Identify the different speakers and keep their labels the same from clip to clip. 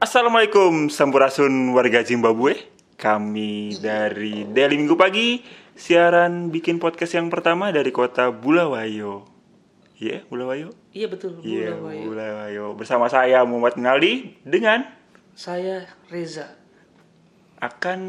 Speaker 1: Assalamualaikum Sampurasun warga Zimbabwe Kami dari Daily Minggu Pagi Siaran bikin podcast yang pertama dari kota Bulawayo Iya, Bulawayo?
Speaker 2: Iya betul,
Speaker 1: Iya,
Speaker 2: Bulawayo.
Speaker 1: Bulawayo Bersama saya Muhammad Naldi Dengan
Speaker 2: Saya Reza.
Speaker 1: akan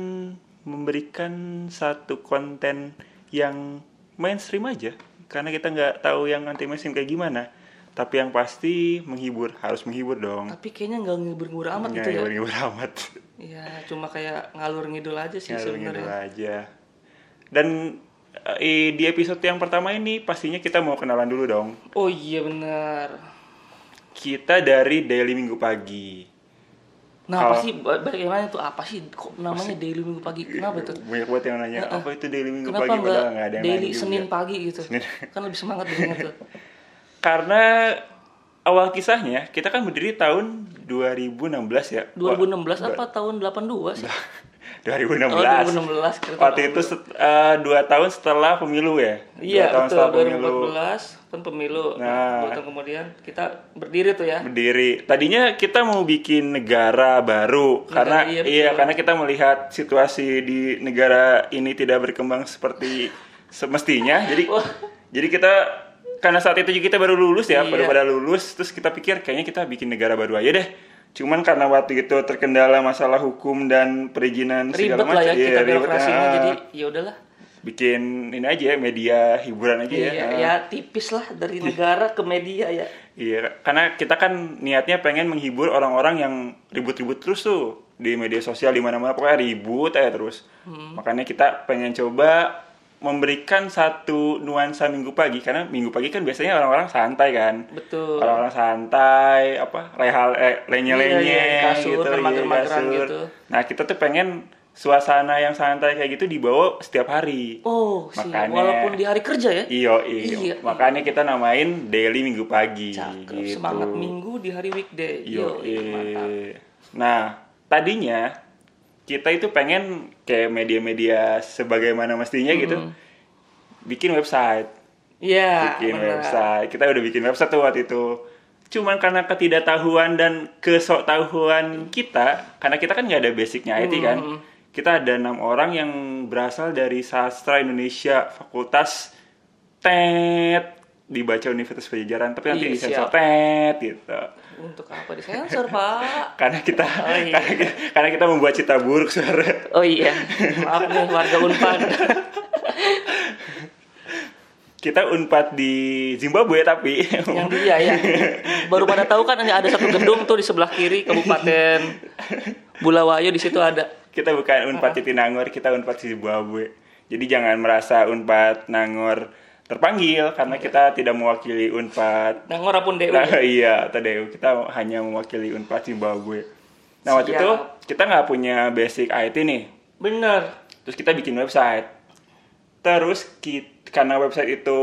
Speaker 1: memberikan satu konten yang mainstream aja Karena kita nggak tahu yang anti mainstream kayak gimana Tapi yang pasti menghibur, harus menghibur dong
Speaker 2: Tapi kayaknya nggak ngibur-ngibur amat
Speaker 1: Nggak
Speaker 2: gitu ya.
Speaker 1: hibur-hibur amat
Speaker 2: Iya, cuma kayak ngalur ngidul aja sih
Speaker 1: Ngalur ngidul
Speaker 2: sebenarnya.
Speaker 1: Iya, aja. Dan eh, di episode yang pertama ini pastinya kita mau kenalan dulu dong.
Speaker 2: Oh iya benar.
Speaker 1: Kita dari Daily Minggu Pagi.
Speaker 2: Nah,
Speaker 1: Kalau-
Speaker 2: apa sih ba- bagaimana tuh apa sih kok namanya daily minggu pagi? Kenapa tuh?
Speaker 1: Banyak banget yang nanya,
Speaker 2: Heeh.
Speaker 1: apa itu Daily Minggu
Speaker 2: Kenapa
Speaker 1: Pagi?
Speaker 2: nggak
Speaker 1: Padahal nggak ada yang
Speaker 2: daily
Speaker 1: nanya juga.
Speaker 2: Senin pagi gitu?
Speaker 1: Senin.
Speaker 2: Kan lebih semangat dengar tuh.
Speaker 1: Karena awal kisahnya, kita kan berdiri tahun 2016 ya.
Speaker 2: 2016 apa tahun 82 sih?
Speaker 1: 2016.
Speaker 2: Oh, 2016, kira-kira.
Speaker 1: Waktu itu set- eh, dua tahun setelah pemilu ya. Dua
Speaker 2: Iya,
Speaker 1: tahun
Speaker 2: betul.
Speaker 1: setelah pemilu.
Speaker 2: 2014 kan pemilu.
Speaker 1: Nah.
Speaker 2: Nah, dua tahun kemudian kita berdiri tuh ya.
Speaker 1: berdiri. Tadinya kita mau bikin negara baru
Speaker 2: Negara,
Speaker 1: karena
Speaker 2: iya,
Speaker 1: iya
Speaker 2: betul.
Speaker 1: karena kita melihat situasi di negara ini tidak berkembang seperti semestinya. Jadi
Speaker 2: Wah.
Speaker 1: jadi kita karena saat itu juga kita baru lulus ya, baru
Speaker 2: Iya.
Speaker 1: pada lulus terus kita pikir kayaknya kita bikin negara baru aja deh. Cuman karena waktu itu terkendala masalah hukum dan perizinan segala
Speaker 2: Ribet
Speaker 1: macam.
Speaker 2: lah ya
Speaker 1: Iya,
Speaker 2: kita
Speaker 1: ribet,
Speaker 2: birokrasinya
Speaker 1: ah.
Speaker 2: jadi ya udahlah.
Speaker 1: bikin ini aja ya, media hiburan aja
Speaker 2: Iya,
Speaker 1: ya. ah.
Speaker 2: ya tipis lah dari negara ke media ya.
Speaker 1: Iya, karena kita kan niatnya pengen menghibur orang-orang yang ribut-ribut terus tuh di media sosial di mana-mana pokoknya ribut aja terus.
Speaker 2: Hmm.
Speaker 1: Makanya kita pengen coba memberikan satu nuansa minggu pagi karena minggu pagi kan biasanya orang-orang santai kan.
Speaker 2: Betul.
Speaker 1: Orang-orang santai, apa rehal eh, lenye-lenye
Speaker 2: Iya, iya, kasur,
Speaker 1: gitu, iya,
Speaker 2: mager-mageran
Speaker 1: kasur.
Speaker 2: gitu.
Speaker 1: Nah, kita tuh pengen suasana yang santai kayak gitu dibawa setiap hari.
Speaker 2: Oh, sih.
Speaker 1: Makanya-
Speaker 2: Walaupun di hari kerja ya.
Speaker 1: Iyo, iyo.
Speaker 2: Iya.
Speaker 1: Makanya kita namain daily minggu pagi
Speaker 2: Cakep,
Speaker 1: gitu.
Speaker 2: semangat minggu di hari weekday.
Speaker 1: Yo,
Speaker 2: Yoi, mantap.
Speaker 1: Nah, tadinya kita itu pengen kayak media-media sebagaimana mestinya gitu. Bikin website,
Speaker 2: Iya,
Speaker 1: bikin
Speaker 2: benar.
Speaker 1: website. Kita udah bikin website tuh waktu itu. Cuman karena ketidaktahuan dan kesoktahuan kita, karena kita kan nggak ada basicnya IT kan. Kita ada enam orang yang berasal dari sastra Indonesia, fakultas TET dibaca Universitas Pajajaran, tapi nanti
Speaker 2: Iya,
Speaker 1: disensor
Speaker 2: siap.
Speaker 1: TET gitu
Speaker 2: Untuk apa disensor, Pak?
Speaker 1: karena kita
Speaker 2: Oh, iya.
Speaker 1: karena, kita karena kita membuat cita buruk saudara
Speaker 2: Oh iya, maaf nih warga Unpad.
Speaker 1: kita unpad di Zimbabwe tapi
Speaker 2: Yang dia ya. Baru pada tahu kan hanya ada satu gedung tuh di sebelah kiri Kabupaten Bulawayo di situ ada.
Speaker 1: kita bukan unpad titik nangor kita unpad di Zimbabwe jadi jangan merasa unpad nangor terpanggil karena
Speaker 2: Iya.
Speaker 1: kita tidak mewakili unpad
Speaker 2: Nangor pun DU.
Speaker 1: Nah,
Speaker 2: ya?
Speaker 1: iya tadi kita hanya mewakili unpad Zimbabwe nah waktu
Speaker 2: Siap.
Speaker 1: itu kita nggak punya basic IT nih
Speaker 2: Bener.
Speaker 1: terus kita bikin website terus kit- karena website itu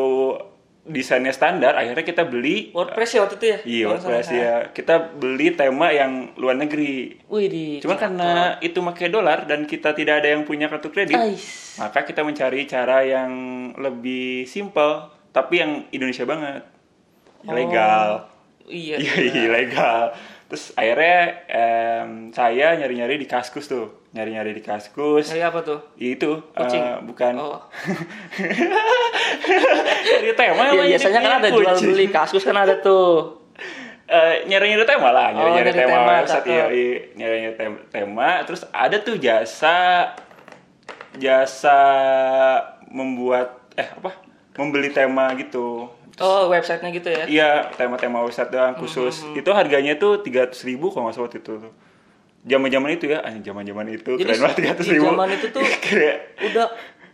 Speaker 1: desainnya standar akhirnya kita beli
Speaker 2: WordPress ya waktu itu ya?
Speaker 1: Iya,
Speaker 2: Kalau nggak
Speaker 1: WordPress
Speaker 2: salah.
Speaker 1: ya. Kita beli tema yang luar negeri.
Speaker 2: Wih di.
Speaker 1: Cuma karena itu pakai dolar dan kita tidak ada yang punya kartu kredit,
Speaker 2: Ais.
Speaker 1: maka kita mencari cara yang lebih simple tapi yang Indonesia banget. Ilegal.
Speaker 2: Oh. Iya.
Speaker 1: Iya, ilegal. Terus akhirnya em, saya nyari-nyari di Kaskus tuh. Nyari-nyari di Kaskus.
Speaker 2: Dari apa tuh?
Speaker 1: Itu eh,
Speaker 2: Kucing.
Speaker 1: bukan
Speaker 2: Oh.
Speaker 1: nyari tema
Speaker 2: Ya,
Speaker 1: emang jadi
Speaker 2: biasanya kan
Speaker 1: punya
Speaker 2: ada jual
Speaker 1: kucing.
Speaker 2: beli kasus kan ada tuh.
Speaker 1: Eh, nyari-nyari tema lah, nyari-nyari
Speaker 2: Oh, nyari
Speaker 1: tema,
Speaker 2: tema,
Speaker 1: website,
Speaker 2: cakep.
Speaker 1: iya, iya. nyari-nyari tem- tema, terus ada tuh jasa jasa membuat eh apa? membeli tema gitu.
Speaker 2: Oh, websitenya gitu ya.
Speaker 1: Iya, tema-tema website doang
Speaker 2: Hmm,
Speaker 1: khusus. Itu harganya tuh 300.000 ribu kalau nggak salah waktu itu tuh. Zaman-zaman itu ya, anjing zaman-zaman itu
Speaker 2: Jadi
Speaker 1: keren banget 300
Speaker 2: di zaman itu tuh
Speaker 1: Kayak-
Speaker 2: udah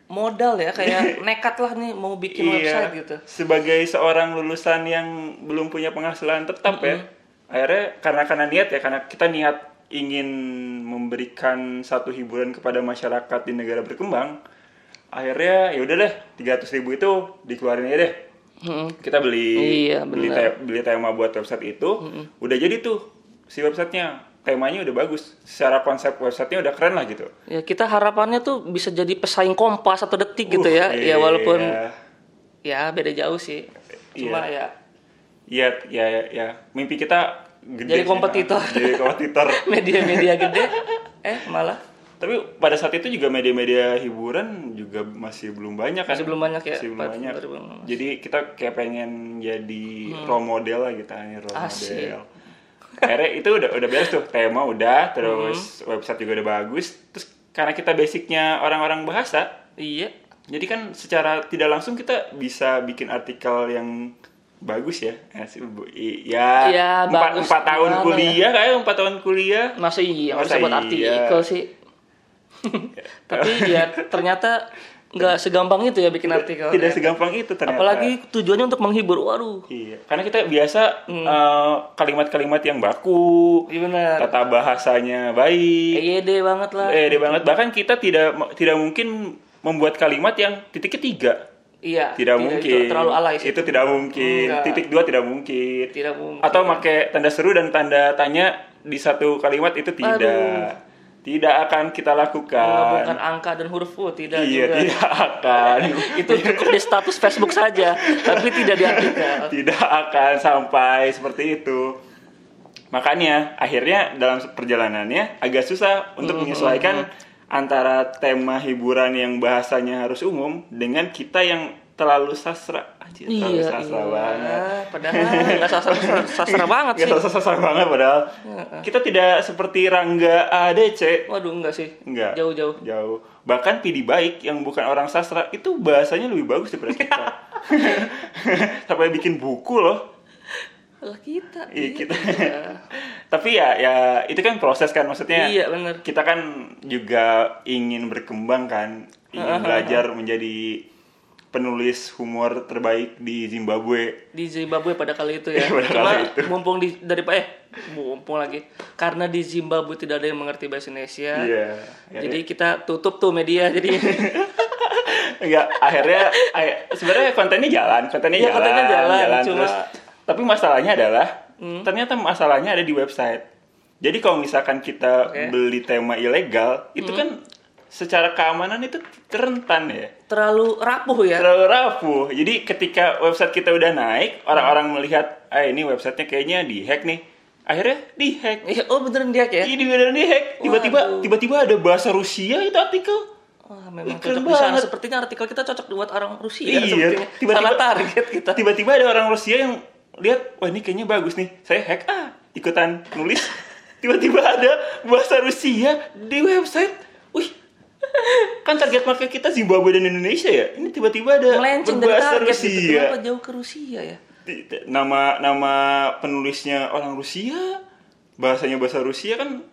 Speaker 2: modal ya kayak nekat lah nih mau bikin website gitu.
Speaker 1: Iya, Sebagai seorang lulusan yang belum punya penghasilan tetap ya. Akhirnya karena karena niat ya karena kita niat ingin memberikan satu hiburan kepada masyarakat di negara berkembang. Akhirnya ya udah deh 300.000 ribu itu dikeluarin aja deh. Kita beli
Speaker 2: Iya,
Speaker 1: beli, te- beli tema buat website itu. Udah jadi tuh si websitenya temanya udah bagus secara konsep websitenya udah keren lah gitu
Speaker 2: Ya kita harapannya tuh bisa jadi pesaing kompas atau detik gitu ya.
Speaker 1: Uh,
Speaker 2: ya walaupun
Speaker 1: iya.
Speaker 2: ya beda jauh sih. Cuma
Speaker 1: Iya, iya, iya, iya. Mimpi kita gede.
Speaker 2: Jadi
Speaker 1: sih,
Speaker 2: kompetitor.
Speaker 1: nah. Jadi kompetitor.
Speaker 2: ya media-media gede eh malah
Speaker 1: Tapi pada saat itu juga media-media hiburan juga masih belum banyak kan?
Speaker 2: masih belum banyak ya.
Speaker 1: Masih belum
Speaker 2: Pak-
Speaker 1: banyak.
Speaker 2: baru belum. Hmm.
Speaker 1: Jadi kita kayak pengen jadi role model lah gitu, hanya role
Speaker 2: Asik.
Speaker 1: model. Akhirnya itu udah udah beres tuh, tema udah, terus
Speaker 2: Hmm.
Speaker 1: website juga udah bagus. Terus karena kita basicnya orang-orang bahasa,
Speaker 2: Iya.
Speaker 1: Jadi kan secara tidak langsung kita bisa bikin artikel yang bagus ya. Eh, sih, Bu- i- Ya,
Speaker 2: Iya,
Speaker 1: empat,
Speaker 2: bagus
Speaker 1: empat tahun
Speaker 2: banget.
Speaker 1: kuliah kayak empat tahun kuliah.
Speaker 2: Masa iya
Speaker 1: Masa
Speaker 2: masa buat
Speaker 1: iya.
Speaker 2: artikel sih. Tapi ya ternyata nggak segampang itu ya bikin artikel.
Speaker 1: tidak
Speaker 2: ternyata.
Speaker 1: segampang itu ternyata.
Speaker 2: Apalagi tujuannya untuk menghibur. Waduh.
Speaker 1: iya. Karena kita biasa eh, kalimat-kalimat yang baku,
Speaker 2: Iya Hmm. benar. Iya.
Speaker 1: tata bahasanya baik.
Speaker 2: EYD banget lah.
Speaker 1: Eh, deh banget bahkan kita tidak tidak mungkin membuat kalimat yang titiknya tiga.
Speaker 2: iya.
Speaker 1: Tidak,
Speaker 2: itu
Speaker 1: mungkin.
Speaker 2: terlalu alay sih.
Speaker 1: Itu tidak mungkin.
Speaker 2: Enggak.
Speaker 1: Titik dua tidak mungkin.
Speaker 2: Tidak mungkin.
Speaker 1: atau pakai tanda seru dan tanda tanya di satu kalimat itu tidak
Speaker 2: Aduh.
Speaker 1: tidak akan kita lakukan
Speaker 2: Bukan angka dan huruf oh, tidak
Speaker 1: iya
Speaker 2: juga.
Speaker 1: tidak akan
Speaker 2: itu cukup di status Facebook saja tapi tidak di artikel
Speaker 1: tidak akan sampai seperti itu makanya akhirnya dalam perjalanannya agak susah
Speaker 2: Mm-hmm.
Speaker 1: untuk menyesuaikan antara tema hiburan yang bahasanya harus umum dengan kita yang terlalu sastra Anjir, terlalu
Speaker 2: iya
Speaker 1: sastra
Speaker 2: iya.
Speaker 1: banget
Speaker 2: padahal nggak sastra, sastra banget
Speaker 1: Nggak
Speaker 2: sih
Speaker 1: sastra-sastra banget padahal kita tidak seperti Rangga ADC
Speaker 2: waduh enggak sih
Speaker 1: Enggak.
Speaker 2: jauh-jauh
Speaker 1: Jauh. Bahkan PD baik yang bukan orang sastra itu bahasanya lebih bagus daripada kita. Sampai bikin buku loh.
Speaker 2: lah kita
Speaker 1: Iya, kita. Tapi ya ya itu kan proses kan maksudnya.
Speaker 2: iya bener
Speaker 1: Kita kan juga ingin berkembang kan, ingin belajar menjadi penulis humor terbaik di Zimbabwe.
Speaker 2: di Zimbabwe pada kali itu ya
Speaker 1: Pada
Speaker 2: cuma
Speaker 1: kali itu.
Speaker 2: mumpung di dari eh mumpung lagi karena di Zimbabwe tidak ada yang mengerti bahasa Indonesia
Speaker 1: Iya. Ya,
Speaker 2: jadi kita tutup tuh media jadi
Speaker 1: Enggak, Iya, akhirnya ay- sebenarnya kontennya jalan, kontennya
Speaker 2: Iya,
Speaker 1: jalan,
Speaker 2: kontennya jalan, cuma- Hmm.
Speaker 1: terus. Tapi masalahnya adalah ternyata masalahnya ada di website. Jadi kalau misalkan kita
Speaker 2: Oke. Hmm.
Speaker 1: beli tema ilegal, itu kan secara keamanan itu rentan ya.
Speaker 2: terlalu rapuh ya
Speaker 1: Terlalu rapuh. Jadi ketika website kita udah naik, orang-orang
Speaker 2: Hmm.
Speaker 1: melihat, "Ah, ini websitenya kayaknya dihack nih." Akhirnya dihack.
Speaker 2: Iya, oh beneran dia ya
Speaker 1: Ini beneran dihack. Tiba-tiba
Speaker 2: Waduh.
Speaker 1: tiba-tiba ada bahasa Rusia itu artikel.
Speaker 2: Wah,
Speaker 1: Ih,
Speaker 2: memang
Speaker 1: keren
Speaker 2: cocok di sana.
Speaker 1: banget.
Speaker 2: Sepertinya artikel kita cocok buat orang Rusia.
Speaker 1: Iya,
Speaker 2: sepertinya.
Speaker 1: tiba-tiba-
Speaker 2: Salah target kita.
Speaker 1: tiba-tiba ada orang Rusia yang lihat wah ini kayaknya bagus nih saya hack ah ikutan nulis tiba-tiba ada bahasa Rusia di website wih kan target market kita Zimbabwe dan Indonesia ya ini tiba-tiba ada
Speaker 2: Melenceng dari
Speaker 1: bahasa
Speaker 2: target gitu. Kenapa
Speaker 1: Rusia
Speaker 2: jauh ke Rusia ya?
Speaker 1: Ti- ti- nama nama penulisnya orang Rusia bahasanya bahasa Rusia kan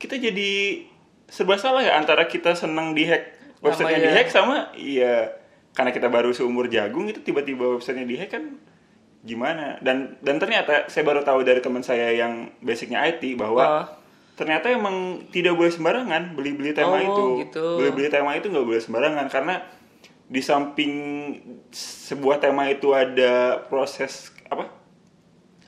Speaker 1: kita jadi serba salah ya antara kita senang dihack websitenya
Speaker 2: Namanya.
Speaker 1: dihack sama iya karena kita baru seumur jagung itu tiba-tiba websitenya dihack kan gimana dan dan ternyata saya baru tahu dari teman saya yang basicnya IT bahwa
Speaker 2: Ah.
Speaker 1: ternyata emang tidak boleh sembarangan beli-beli tema
Speaker 2: Oh,
Speaker 1: itu
Speaker 2: gitu.
Speaker 1: beli-beli tema itu nggak boleh sembarangan karena di samping sebuah tema itu ada proses apa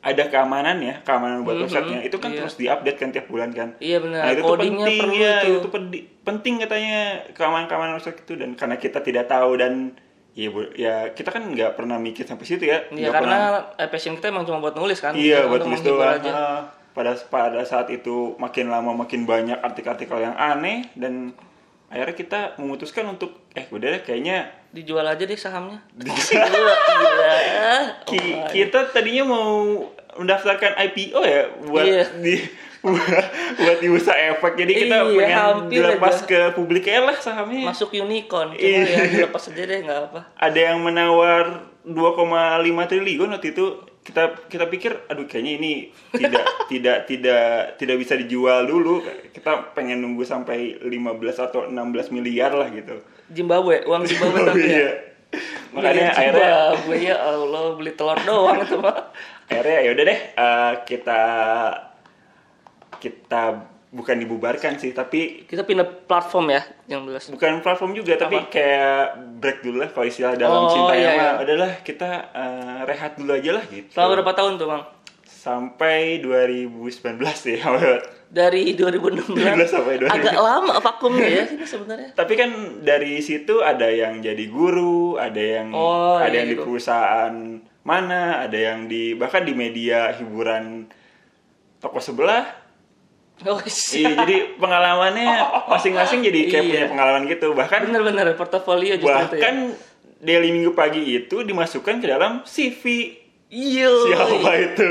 Speaker 1: ada keamanannya keamanan buat websitenya itu kan
Speaker 2: iya.
Speaker 1: terus diupdate kan tiap bulan kan
Speaker 2: Iya benar.
Speaker 1: Nah, itu tuh
Speaker 2: Codingnya
Speaker 1: penting
Speaker 2: perlu
Speaker 1: ya,
Speaker 2: itu.
Speaker 1: itu pedi- penting katanya keamanan-keamanan website itu dan karena kita tidak tahu dan ya, bu- ya kita kan nggak pernah mikir sampai situ ya.
Speaker 2: Iya
Speaker 1: nggak
Speaker 2: karena
Speaker 1: pernah-
Speaker 2: eh, passion kita emang cuma buat nulis kan.
Speaker 1: iya
Speaker 2: Bukan
Speaker 1: buat
Speaker 2: untuk
Speaker 1: tulis
Speaker 2: menghibur
Speaker 1: doang.
Speaker 2: aja.
Speaker 1: Ah, Pada pada saat itu makin lama makin banyak artikel-artikel yang aneh dan akhirnya kita memutuskan untuk eh udah deh kayaknya
Speaker 2: Dijual aja deh sahamnya.
Speaker 1: Dijual.
Speaker 2: Gila, Gila. Oh
Speaker 1: Ki- kita tadinya mau mendaftarkan IPO ya buat
Speaker 2: Iya.
Speaker 1: di buat, buat di bursa efek jadi kita
Speaker 2: Iya,
Speaker 1: pengen
Speaker 2: hampir
Speaker 1: dilepas
Speaker 2: aja.
Speaker 1: ke publik aja lah sahamnya
Speaker 2: Masuk unicorn. Cuma
Speaker 1: Iya.
Speaker 2: ya dilepas aja deh nggak apa.
Speaker 1: ada yang menawar 2,5 triliun waktu itu kita kita pikir aduh kayaknya ini tidak tidak tidak tidak bisa dijual dulu kita pengen nunggu sampai 15 atau 16 miliar lah gitu
Speaker 2: Zimbabwe, uang Zimbabwe tapi ya.
Speaker 1: Iya. makanya
Speaker 2: Beli
Speaker 1: akhirnya
Speaker 2: Zimbabwe ya Allah beli telur doang itu pak.
Speaker 1: akhirnya ya udah deh eh, kita kita bukan dibubarkan sih tapi
Speaker 2: Kita pindah platform ya yang jelas.
Speaker 1: bukan platform juga tapi kayak break dulu lah kalau istilah dalam
Speaker 2: Oh,
Speaker 1: cinta ya,
Speaker 2: iya,
Speaker 1: yang
Speaker 2: iya.
Speaker 1: adalah kita eh, rehat dulu aja lah gitu
Speaker 2: Selama berapa tahun tuh bang?
Speaker 1: sampai 2019 ya.
Speaker 2: Dari 2016
Speaker 1: sampai 2000.
Speaker 2: agak lama vakumnya ya sih sebenarnya.
Speaker 1: Tapi kan dari situ ada yang jadi guru, ada yang
Speaker 2: Oh,
Speaker 1: ada
Speaker 2: iya
Speaker 1: yang di
Speaker 2: gitu.
Speaker 1: perusahaan mana, ada yang di bahkan di media hiburan toko sebelah.
Speaker 2: Oh, iya.
Speaker 1: Iya, jadi pengalamannya masing-masing jadi kayak
Speaker 2: Iya.
Speaker 1: punya pengalaman gitu. Bahkan
Speaker 2: Bener-bener portofolio justru itu ya.
Speaker 1: bahkan daily minggu pagi itu dimasukkan ke dalam CV
Speaker 2: Iya.
Speaker 1: siapa ya? itu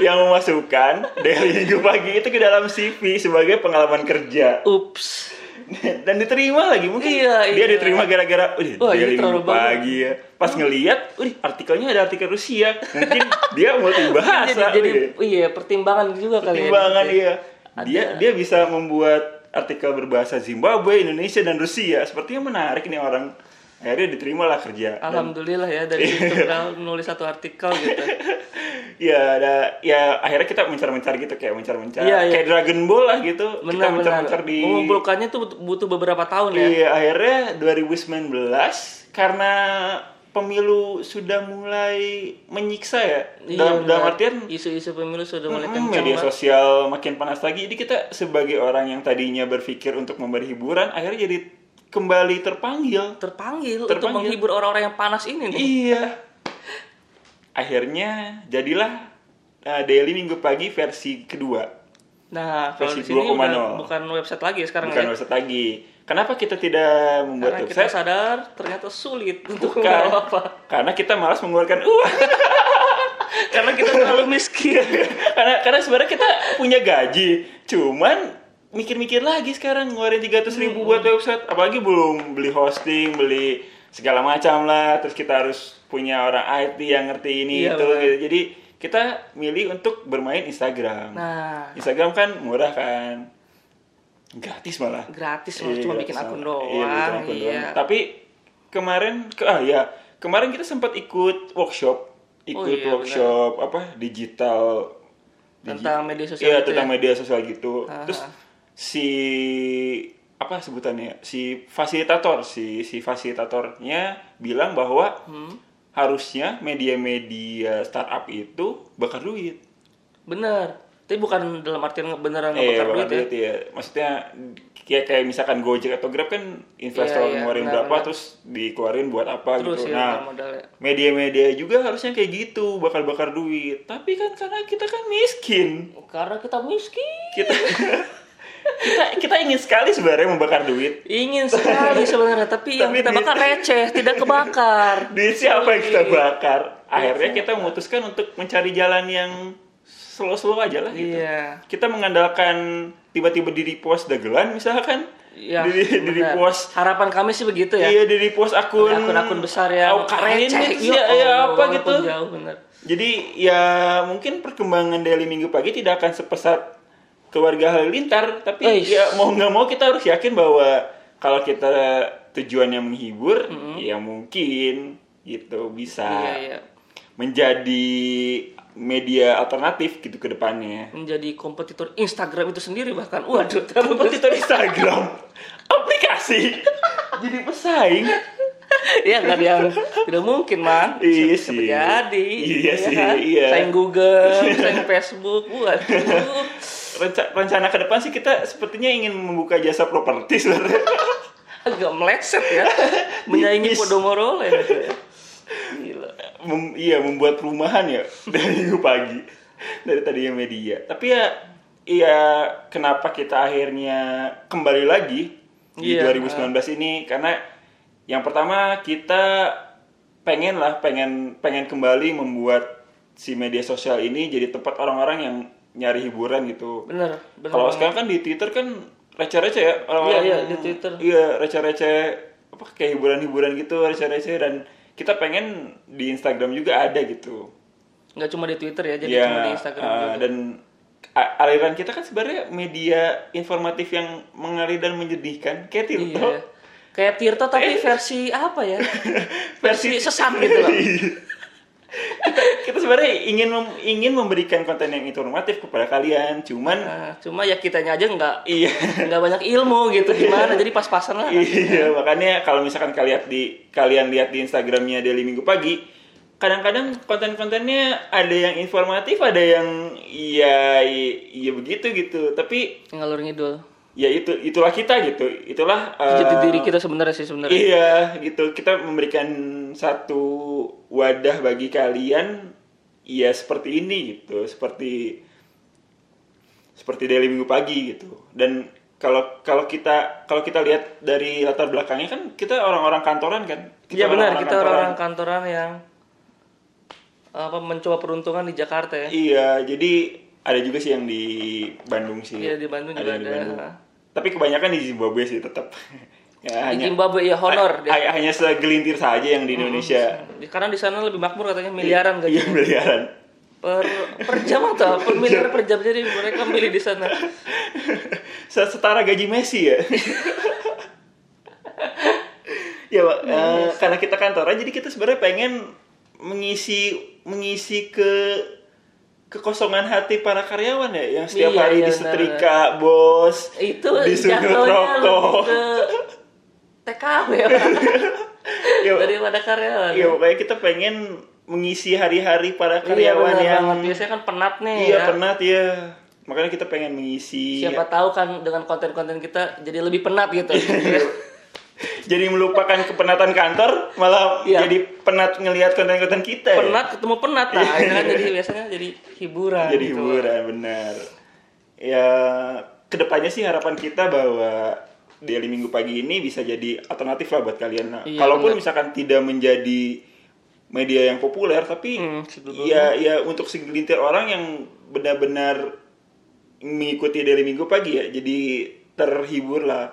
Speaker 1: yang memasukkan daily minggu pagi itu ke dalam CV sebagai pengalaman kerja
Speaker 2: Ups.
Speaker 1: dan diterima lagi mungkin
Speaker 2: Iya,
Speaker 1: dia
Speaker 2: iya.
Speaker 1: diterima gara-gara "Wih,
Speaker 2: Wah,
Speaker 1: daily
Speaker 2: ini terlalu Hmm.
Speaker 1: minggu pagi ya pas ngelihat "Wih, artikelnya ada artikel Rusia mungkin dia multibahasa
Speaker 2: Kan jadi, jadi
Speaker 1: wih.
Speaker 2: iya pertimbangan juga kali ya.
Speaker 1: pertimbangan
Speaker 2: Nanti.
Speaker 1: iya. Dia dia bisa membuat artikel berbahasa Zimbabwe, Indonesia dan Rusia. Sepertinya menarik nih orang. Akhirnya diterimalah kerja. Dan-
Speaker 2: Alhamdulillah ya dari situ kita menulis satu artikel gitu.
Speaker 1: Iya, ada ya akhirnya kita mencar-mencar gitu kayak mencar-mencar.
Speaker 2: Iya, iya.
Speaker 1: Kayak Dragon Ball lah gitu. kita
Speaker 2: Benar-benar.
Speaker 1: mencar-mencar di
Speaker 2: Mengumpulkannya tuh but- butuh beberapa tahun ya.
Speaker 1: Iya, akhirnya 2019 karena pemilu sudah mulai menyiksa ya.
Speaker 2: Iya,
Speaker 1: dalam, dalam
Speaker 2: benar.
Speaker 1: artian
Speaker 2: isu-isu pemilu sudah mulai
Speaker 1: Mm,
Speaker 2: kencang.
Speaker 1: media
Speaker 2: Bang.
Speaker 1: sosial makin panas lagi. Jadi kita sebagai orang yang tadinya berpikir untuk memberi hiburan, akhirnya jadi kembali terpanggil.
Speaker 2: terpanggil, untuk
Speaker 1: Terpanggil.
Speaker 2: menghibur orang-orang yang panas ini nih.
Speaker 1: Iya. Akhirnya jadilah uh, Daily Minggu Pagi versi kedua.
Speaker 2: Nah, kalau
Speaker 1: Versi
Speaker 2: di sini
Speaker 1: 2.0.
Speaker 2: udah bukan website lagi ya sekarang
Speaker 1: Bukan
Speaker 2: ya.
Speaker 1: website lagi. Kenapa kita tidak
Speaker 2: Karena
Speaker 1: membuat
Speaker 2: kita
Speaker 1: website?
Speaker 2: sadar ternyata sulit untuk
Speaker 1: Bukan.
Speaker 2: apa.
Speaker 1: Karena kita malas mengeluarkan "Uh, uang.
Speaker 2: Karena kita terlalu miskin.
Speaker 1: karena karena sebenarnya kita punya gaji. Cuman mikir-mikir lagi sekarang ngeluarin 300 ribu
Speaker 2: Hmm.
Speaker 1: buat website. Apalagi belum beli hosting, beli segala macam lah. Terus kita harus punya orang IT yang ngerti ini
Speaker 2: Iya,
Speaker 1: itu.
Speaker 2: benar.
Speaker 1: gitu. Jadi kita milih untuk bermain Instagram.
Speaker 2: Nah,
Speaker 1: Instagram kan murah kan, gratis malah.
Speaker 2: gratis loh, cuma
Speaker 1: Iya,
Speaker 2: bikin
Speaker 1: sama.
Speaker 2: akun
Speaker 1: Iya, bikin
Speaker 2: doang.
Speaker 1: akun
Speaker 2: Iya.
Speaker 1: doang. Tapi kemarin ke ah ya, kemarin kita sempat ikut workshop, ikut
Speaker 2: Oh, iya,
Speaker 1: workshop apa digital digi-
Speaker 2: Tentang media sosial
Speaker 1: Iya,
Speaker 2: gitu
Speaker 1: tentang
Speaker 2: ya?
Speaker 1: media sosial gitu.
Speaker 2: Ah.
Speaker 1: Terus si apa sebutannya? Si fasilitator, si si fasilitatornya bilang bahwa
Speaker 2: Hmm.
Speaker 1: harusnya media-media startup itu bakar duit.
Speaker 2: Bener. Tapi bukan dalam artian nge- beneran
Speaker 1: Iya,
Speaker 2: ngebakar
Speaker 1: bakar
Speaker 2: duit ya.
Speaker 1: duit ya. Maksudnya kayak kayak misalkan Gojek atau Grab kan investor
Speaker 2: Iya, iya,
Speaker 1: ngeluarin
Speaker 2: benar,
Speaker 1: berapa
Speaker 2: benar.
Speaker 1: terus dikeluarin buat apa
Speaker 2: Terus
Speaker 1: gitu.
Speaker 2: ya
Speaker 1: nah,
Speaker 2: udah modal ya.
Speaker 1: media-media juga harusnya kayak gitu, bakal bakar duit. Tapi kan karena kita kan miskin.
Speaker 2: Karena kita miskin.
Speaker 1: Kita kita kita ingin sekali sebenarnya membakar duit.
Speaker 2: Ingin sekali sebenarnya, tapi, yang
Speaker 1: Tapi
Speaker 2: kita
Speaker 1: di-
Speaker 2: bakar receh, tidak kebakar.
Speaker 1: Duit siapa yang
Speaker 2: Iya.
Speaker 1: kita bakar? Akhirnya kita memutuskan untuk mencari jalan yang slow-slow aja lah gitu.
Speaker 2: Iya.
Speaker 1: Kita mengandalkan tiba-tiba di repost dagelan misalkan.
Speaker 2: Iya.
Speaker 1: di, di
Speaker 2: benar.
Speaker 1: repost
Speaker 2: Harapan kami sih begitu ya.
Speaker 1: Iya di repost akun
Speaker 2: akun-akun besar yang
Speaker 1: Auk Karin
Speaker 2: receh
Speaker 1: gitu, ya, ya
Speaker 2: Allah,
Speaker 1: apa
Speaker 2: walaupun
Speaker 1: gitu.
Speaker 2: jauh bener
Speaker 1: Jadi ya mungkin perkembangan Daily Minggu Pagi tidak akan sepesat keluarga halilintar, tapi
Speaker 2: Eish.
Speaker 1: ya mau nggak mau kita harus yakin bahwa kalau kita tujuannya menghibur, ya mungkin gitu bisa
Speaker 2: iya iya
Speaker 1: menjadi media alternatif gitu ke depannya.
Speaker 2: menjadi kompetitor Instagram itu sendiri bahkan waduh terlalu
Speaker 1: Kompetitor Instagram, aplikasi, jadi pesaing.
Speaker 2: ya nggak ada yang tidak mungkin man
Speaker 1: Iya
Speaker 2: Siapa- siapa
Speaker 1: sih.
Speaker 2: jadi
Speaker 1: Iya
Speaker 2: ya
Speaker 1: sih,
Speaker 2: kan?
Speaker 1: iya.
Speaker 2: sayang Google sayang Facebook waduh
Speaker 1: Renca- rencana ke depan sih kita sepertinya ingin membuka jasa properti sebenarnya.
Speaker 2: agak meleset ya menyaingi
Speaker 1: Tipis.
Speaker 2: Podomoro ya gitu ya. gila
Speaker 1: Mem- iya membuat perumahan ya dari minggu pagi dari tadinya media. Tapi ya iya kenapa kita akhirnya kembali lagi di
Speaker 2: Iya.
Speaker 1: 2019 ini karena yang pertama kita pengen lah pengen pengen kembali membuat si media sosial ini jadi tempat orang-orang yang nyari hiburan gitu.
Speaker 2: bener bener
Speaker 1: Kalau
Speaker 2: banget.
Speaker 1: sekarang kan di Twitter kan receh-receh ya orang-orang.
Speaker 2: Iya, iya, di Twitter.
Speaker 1: Iya, receh-receh apa kayak hiburan-hiburan gitu, receh-receh dan kita pengen di Instagram juga ada gitu.
Speaker 2: nggak cuma di Twitter ya jadi
Speaker 1: Ya,
Speaker 2: cuma di Instagram
Speaker 1: eh,
Speaker 2: juga.
Speaker 1: dan a- aliran kita kan sebenarnya media informatif yang mengalir dan menyedihkan kayak Tirto.
Speaker 2: Iya. Kayak Tirto
Speaker 1: Eh.
Speaker 2: tapi versi apa ya? versi sesat gitu loh.
Speaker 1: kita, kita sebenarnya ingin mem- ingin memberikan konten yang informatif kepada kalian, cuman
Speaker 2: Nah, cuma ya kitanya aja nggak
Speaker 1: iya
Speaker 2: nggak banyak ilmu gitu gimana jadi pas-pasan lah
Speaker 1: Iya, makanya kalau misalkan kalian lihat di kalian lihat di Instagramnya Daily Minggu Pagi, kadang-kadang konten-kontennya ada yang informatif, ada yang ya ya begitu gitu. Tapi
Speaker 2: Yang ngalur ngidul.
Speaker 1: ya itu itulah kita gitu. Itulah eh,
Speaker 2: Jati diri kita sebenarnya sih sebenarnya.
Speaker 1: Iya, gitu. Kita memberikan satu wadah bagi kalian ya seperti ini gitu, seperti seperti daily minggu pagi gitu. Dan kalau kalau kita kalau kita lihat dari latar belakangnya kan kita orang-orang kantoran kan. Kita
Speaker 2: Iya benar,
Speaker 1: orang-orang
Speaker 2: kita
Speaker 1: kantoran.
Speaker 2: orang-orang kantoran yang apa mencoba peruntungan di Jakarta ya.
Speaker 1: Iya, jadi ada juga sih yang di Bandung sih.
Speaker 2: Iya, di Bandung juga
Speaker 1: yang di
Speaker 2: ada.
Speaker 1: Tapi kebanyakan di Zimbabwe sih tetap. ya,
Speaker 2: Di
Speaker 1: hanya, Eh,
Speaker 2: Zimbabwe ya honor dia.
Speaker 1: hanya- hanya segelintir saja yang di Indonesia.
Speaker 2: Di- Karena di sana lebih makmur katanya miliaran gaji
Speaker 1: Iya, miliaran.
Speaker 2: per per jam atau per miliar per jam jadi mereka milih di sana.
Speaker 1: Se- Setara gaji Messi ya. ya, Pak,
Speaker 2: Iya,
Speaker 1: eh, karena kita kantoran jadi kita sebenarnya pengen mengisi mengisi ke kekosongan hati para karyawan ya yang setiap
Speaker 2: Iya,
Speaker 1: hari
Speaker 2: iya,
Speaker 1: disetrika bos
Speaker 2: Itu
Speaker 1: disuruh
Speaker 2: jatuhnya
Speaker 1: rokok
Speaker 2: lebih ke TKW Pak.
Speaker 1: ya,
Speaker 2: daripada karyawan.
Speaker 1: ya, pokoknya kita pengen mengisi hari-hari para
Speaker 2: Iya,
Speaker 1: karyawan
Speaker 2: benar
Speaker 1: yang
Speaker 2: banget. biasanya kan penat nih
Speaker 1: iya
Speaker 2: ya.
Speaker 1: penat Iya. ya makanya kita pengen mengisi
Speaker 2: Siapa tahu kan dengan konten-konten kita jadi lebih penat gitu.
Speaker 1: Iya. jadi melupakan kepenatan kantor malah
Speaker 2: Iya.
Speaker 1: jadi penat ngelihat konten-konten kita ya.
Speaker 2: penat ketemu penat nah itu kan jadi biasanya jadi hiburan
Speaker 1: jadi
Speaker 2: gitu.
Speaker 1: hiburan benar ya kedepannya sih harapan kita bahwa daily minggu pagi ini bisa jadi alternatif lah buat kalian Nah,
Speaker 2: Iya,
Speaker 1: kalaupun misalkan tidak menjadi media yang populer tapi
Speaker 2: Hmm, sebetulnya.
Speaker 1: ya ya untuk segelintir orang yang benar-benar mengikuti daily minggu pagi ya jadi terhibur lah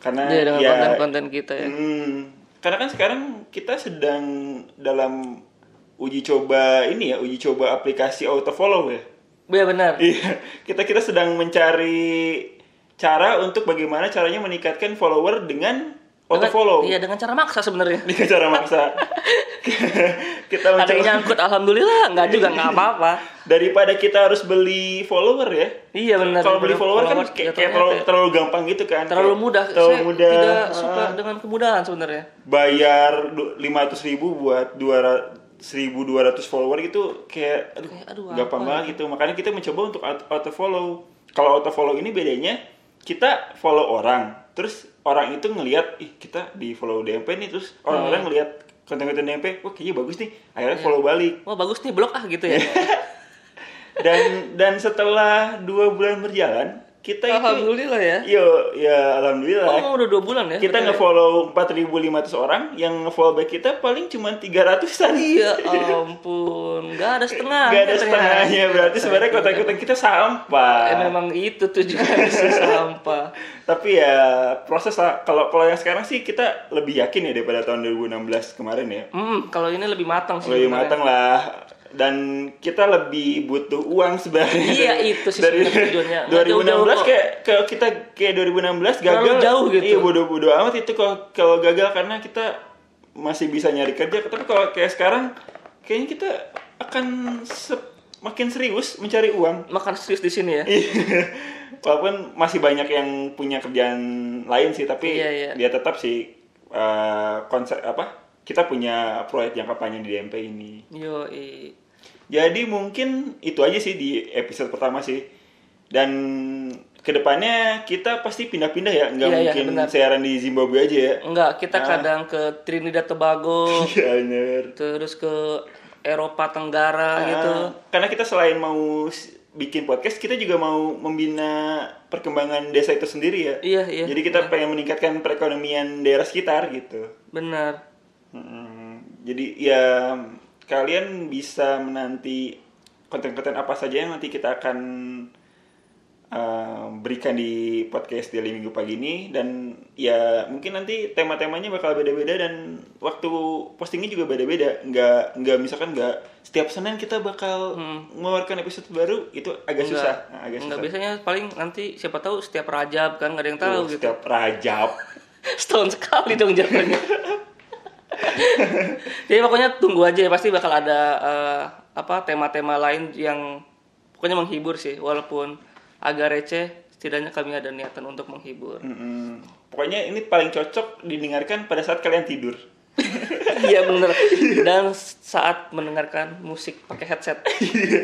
Speaker 1: karena
Speaker 2: Iya, dengan
Speaker 1: ya
Speaker 2: konten-konten kita ya.
Speaker 1: Hmm, karena kan sekarang kita sedang dalam uji coba ini ya, uji coba aplikasi auto follow ya.
Speaker 2: Iya benar.
Speaker 1: Iya, kita kita sedang mencari cara untuk bagaimana caranya meningkatkan follower dengan auto
Speaker 2: Dengan-
Speaker 1: follow. Iya,
Speaker 2: Iya dengan cara maksa sebenarnya.
Speaker 1: Dengan cara maksa. kita
Speaker 2: Ada yang
Speaker 1: mencoba
Speaker 2: nyangkut alhamdulillah nggak juga
Speaker 1: Iya.
Speaker 2: nggak apa-apa.
Speaker 1: daripada kita harus beli follower ya.
Speaker 2: Iya benar.
Speaker 1: Kalau beli follower, kan kayak- kayak,
Speaker 2: jatuhnya
Speaker 1: terlalu,
Speaker 2: apa ya?
Speaker 1: terlalu gampang gitu kan.
Speaker 2: terlalu
Speaker 1: Kayak
Speaker 2: mudah.
Speaker 1: Terlalu
Speaker 2: Saya
Speaker 1: mudah.
Speaker 2: tidak
Speaker 1: Ah.
Speaker 2: suka dengan kemudahan sebenarnya.
Speaker 1: bayar lima ratus ribu buat dua seribu dua ratus follower itu kayak aduh,
Speaker 2: Kayak, aduh,
Speaker 1: gampang banget gitu makanya kita mencoba untuk auto follow kalau auto follow ini bedanya kita follow orang terus orang itu ngelihat ih kita di follow DMP nih terus
Speaker 2: Hmm.
Speaker 1: orang-orang ngelihat konten-konten DMP wah kayaknya bagus nih akhirnya
Speaker 2: Iya.
Speaker 1: follow balik
Speaker 2: Wah bagus nih blok ah gitu
Speaker 1: Iya.
Speaker 2: ya.
Speaker 1: dan dan setelah dua bulan berjalan kita itu
Speaker 2: alhamdulillah ya.
Speaker 1: yo ya alhamdulillah
Speaker 2: Oh udah dua bulan ya.
Speaker 1: kita
Speaker 2: berarti ya?
Speaker 1: nge-follow 4.500 orang, yang nge-follow back kita paling cuma 300-an.
Speaker 2: Iya ampun, nggak ada setengah.
Speaker 1: Gak ada setengahnya, berarti sebenarnya konten-konten kita
Speaker 2: Eh,
Speaker 1: sampah.
Speaker 2: memang itu tujuan isu sampah.
Speaker 1: Tapi ya proses lah, kalau kalau yang sekarang sih kita lebih yakin ya daripada tahun 2016 kemarin ya.
Speaker 2: Hmm, kalau ini lebih matang sih.
Speaker 1: Lebih
Speaker 2: sebenarnya.
Speaker 1: matang lah. Dan kita lebih butuh uang sebenarnya.
Speaker 2: Iya, itu sih
Speaker 1: Dari
Speaker 2: sebenarnya tujuannya. Nggak
Speaker 1: 2016
Speaker 2: jauh-jauh
Speaker 1: kayak kalau kita kayak 2016 gagal.
Speaker 2: Terlalu jauh gitu.
Speaker 1: Iya bodoh-bodoh amat itu kalau kalau gagal karena kita masih bisa nyari kerja. Tapi kalau kayak sekarang kayaknya kita akan se- makin serius mencari uang.
Speaker 2: Makan serius di sini ya.
Speaker 1: Iya. Walaupun masih banyak yang punya kerjaan lain sih, tapi
Speaker 2: Iya, iya.
Speaker 1: dia tetap sih eh, konsep apa? Kita punya proyek jangka panjang di DMP ini.
Speaker 2: Yo,
Speaker 1: Jadi mungkin itu aja sih di episode pertama sih. Dan kedepannya kita pasti pindah-pindah ya, nggak
Speaker 2: Iya, iya,
Speaker 1: mungkin
Speaker 2: benar.
Speaker 1: siaran di Zimbabwe aja ya.
Speaker 2: enggak kita kadang ke Trinidad Tobago,
Speaker 1: Iya bener.
Speaker 2: terus ke Eropa Tenggara gitu.
Speaker 1: Ah, Karena kita selain mau s- bikin podcast, kita juga mau membina perkembangan desa itu sendiri ya.
Speaker 2: Iya, iya.
Speaker 1: Jadi kita pengen meningkatkan perekonomian daerah sekitar gitu.
Speaker 2: Benar.
Speaker 1: Mm, Jadi ya kalian bisa menanti konten-konten apa saja yang nanti kita akan eh, berikan di podcast Daily Minggu pagi ini dan ya mungkin nanti tema-temanya bakal beda-beda dan waktu postingnya juga beda-beda nggak nggak misalkan nggak setiap senin kita bakal mengeluarkan episode baru itu agak susah Nah, agak
Speaker 2: Enggak
Speaker 1: susah
Speaker 2: biasanya paling nanti siapa tahu setiap rajab kan nggak ada yang tahu
Speaker 1: Tuh,
Speaker 2: gitu.
Speaker 1: setiap rajab
Speaker 2: Setahun sekali dong jatuhnya. Jadi pokoknya tunggu aja ya pasti bakal ada eh, apa tema-tema lain yang pokoknya menghibur sih walaupun agak receh setidaknya kami ada niatan untuk menghibur.
Speaker 1: Mm-mm. pokoknya ini paling cocok didengarkan pada saat kalian tidur
Speaker 2: Iya bener. Dan saat mendengarkan musik pakai headset.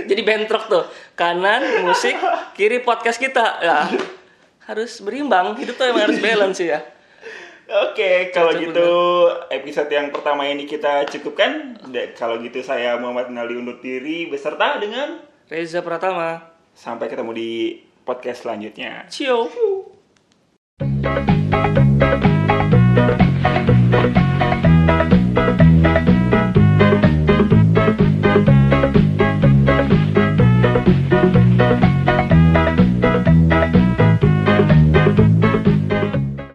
Speaker 2: Jadi bentrok tuh. Kanan musik, kiri podcast kita. Ya. Harus berimbang. Hidup tuh emang harus balance sih ya.
Speaker 1: Oke, kalau
Speaker 2: Cocok
Speaker 1: gitu episode yang pertama ini kita cukupkan. Da- Kalau gitu saya Muhammad Nali undur diri beserta dengan
Speaker 2: Reza Pratama.
Speaker 1: sampai ketemu di podcast selanjutnya.
Speaker 2: Ciao.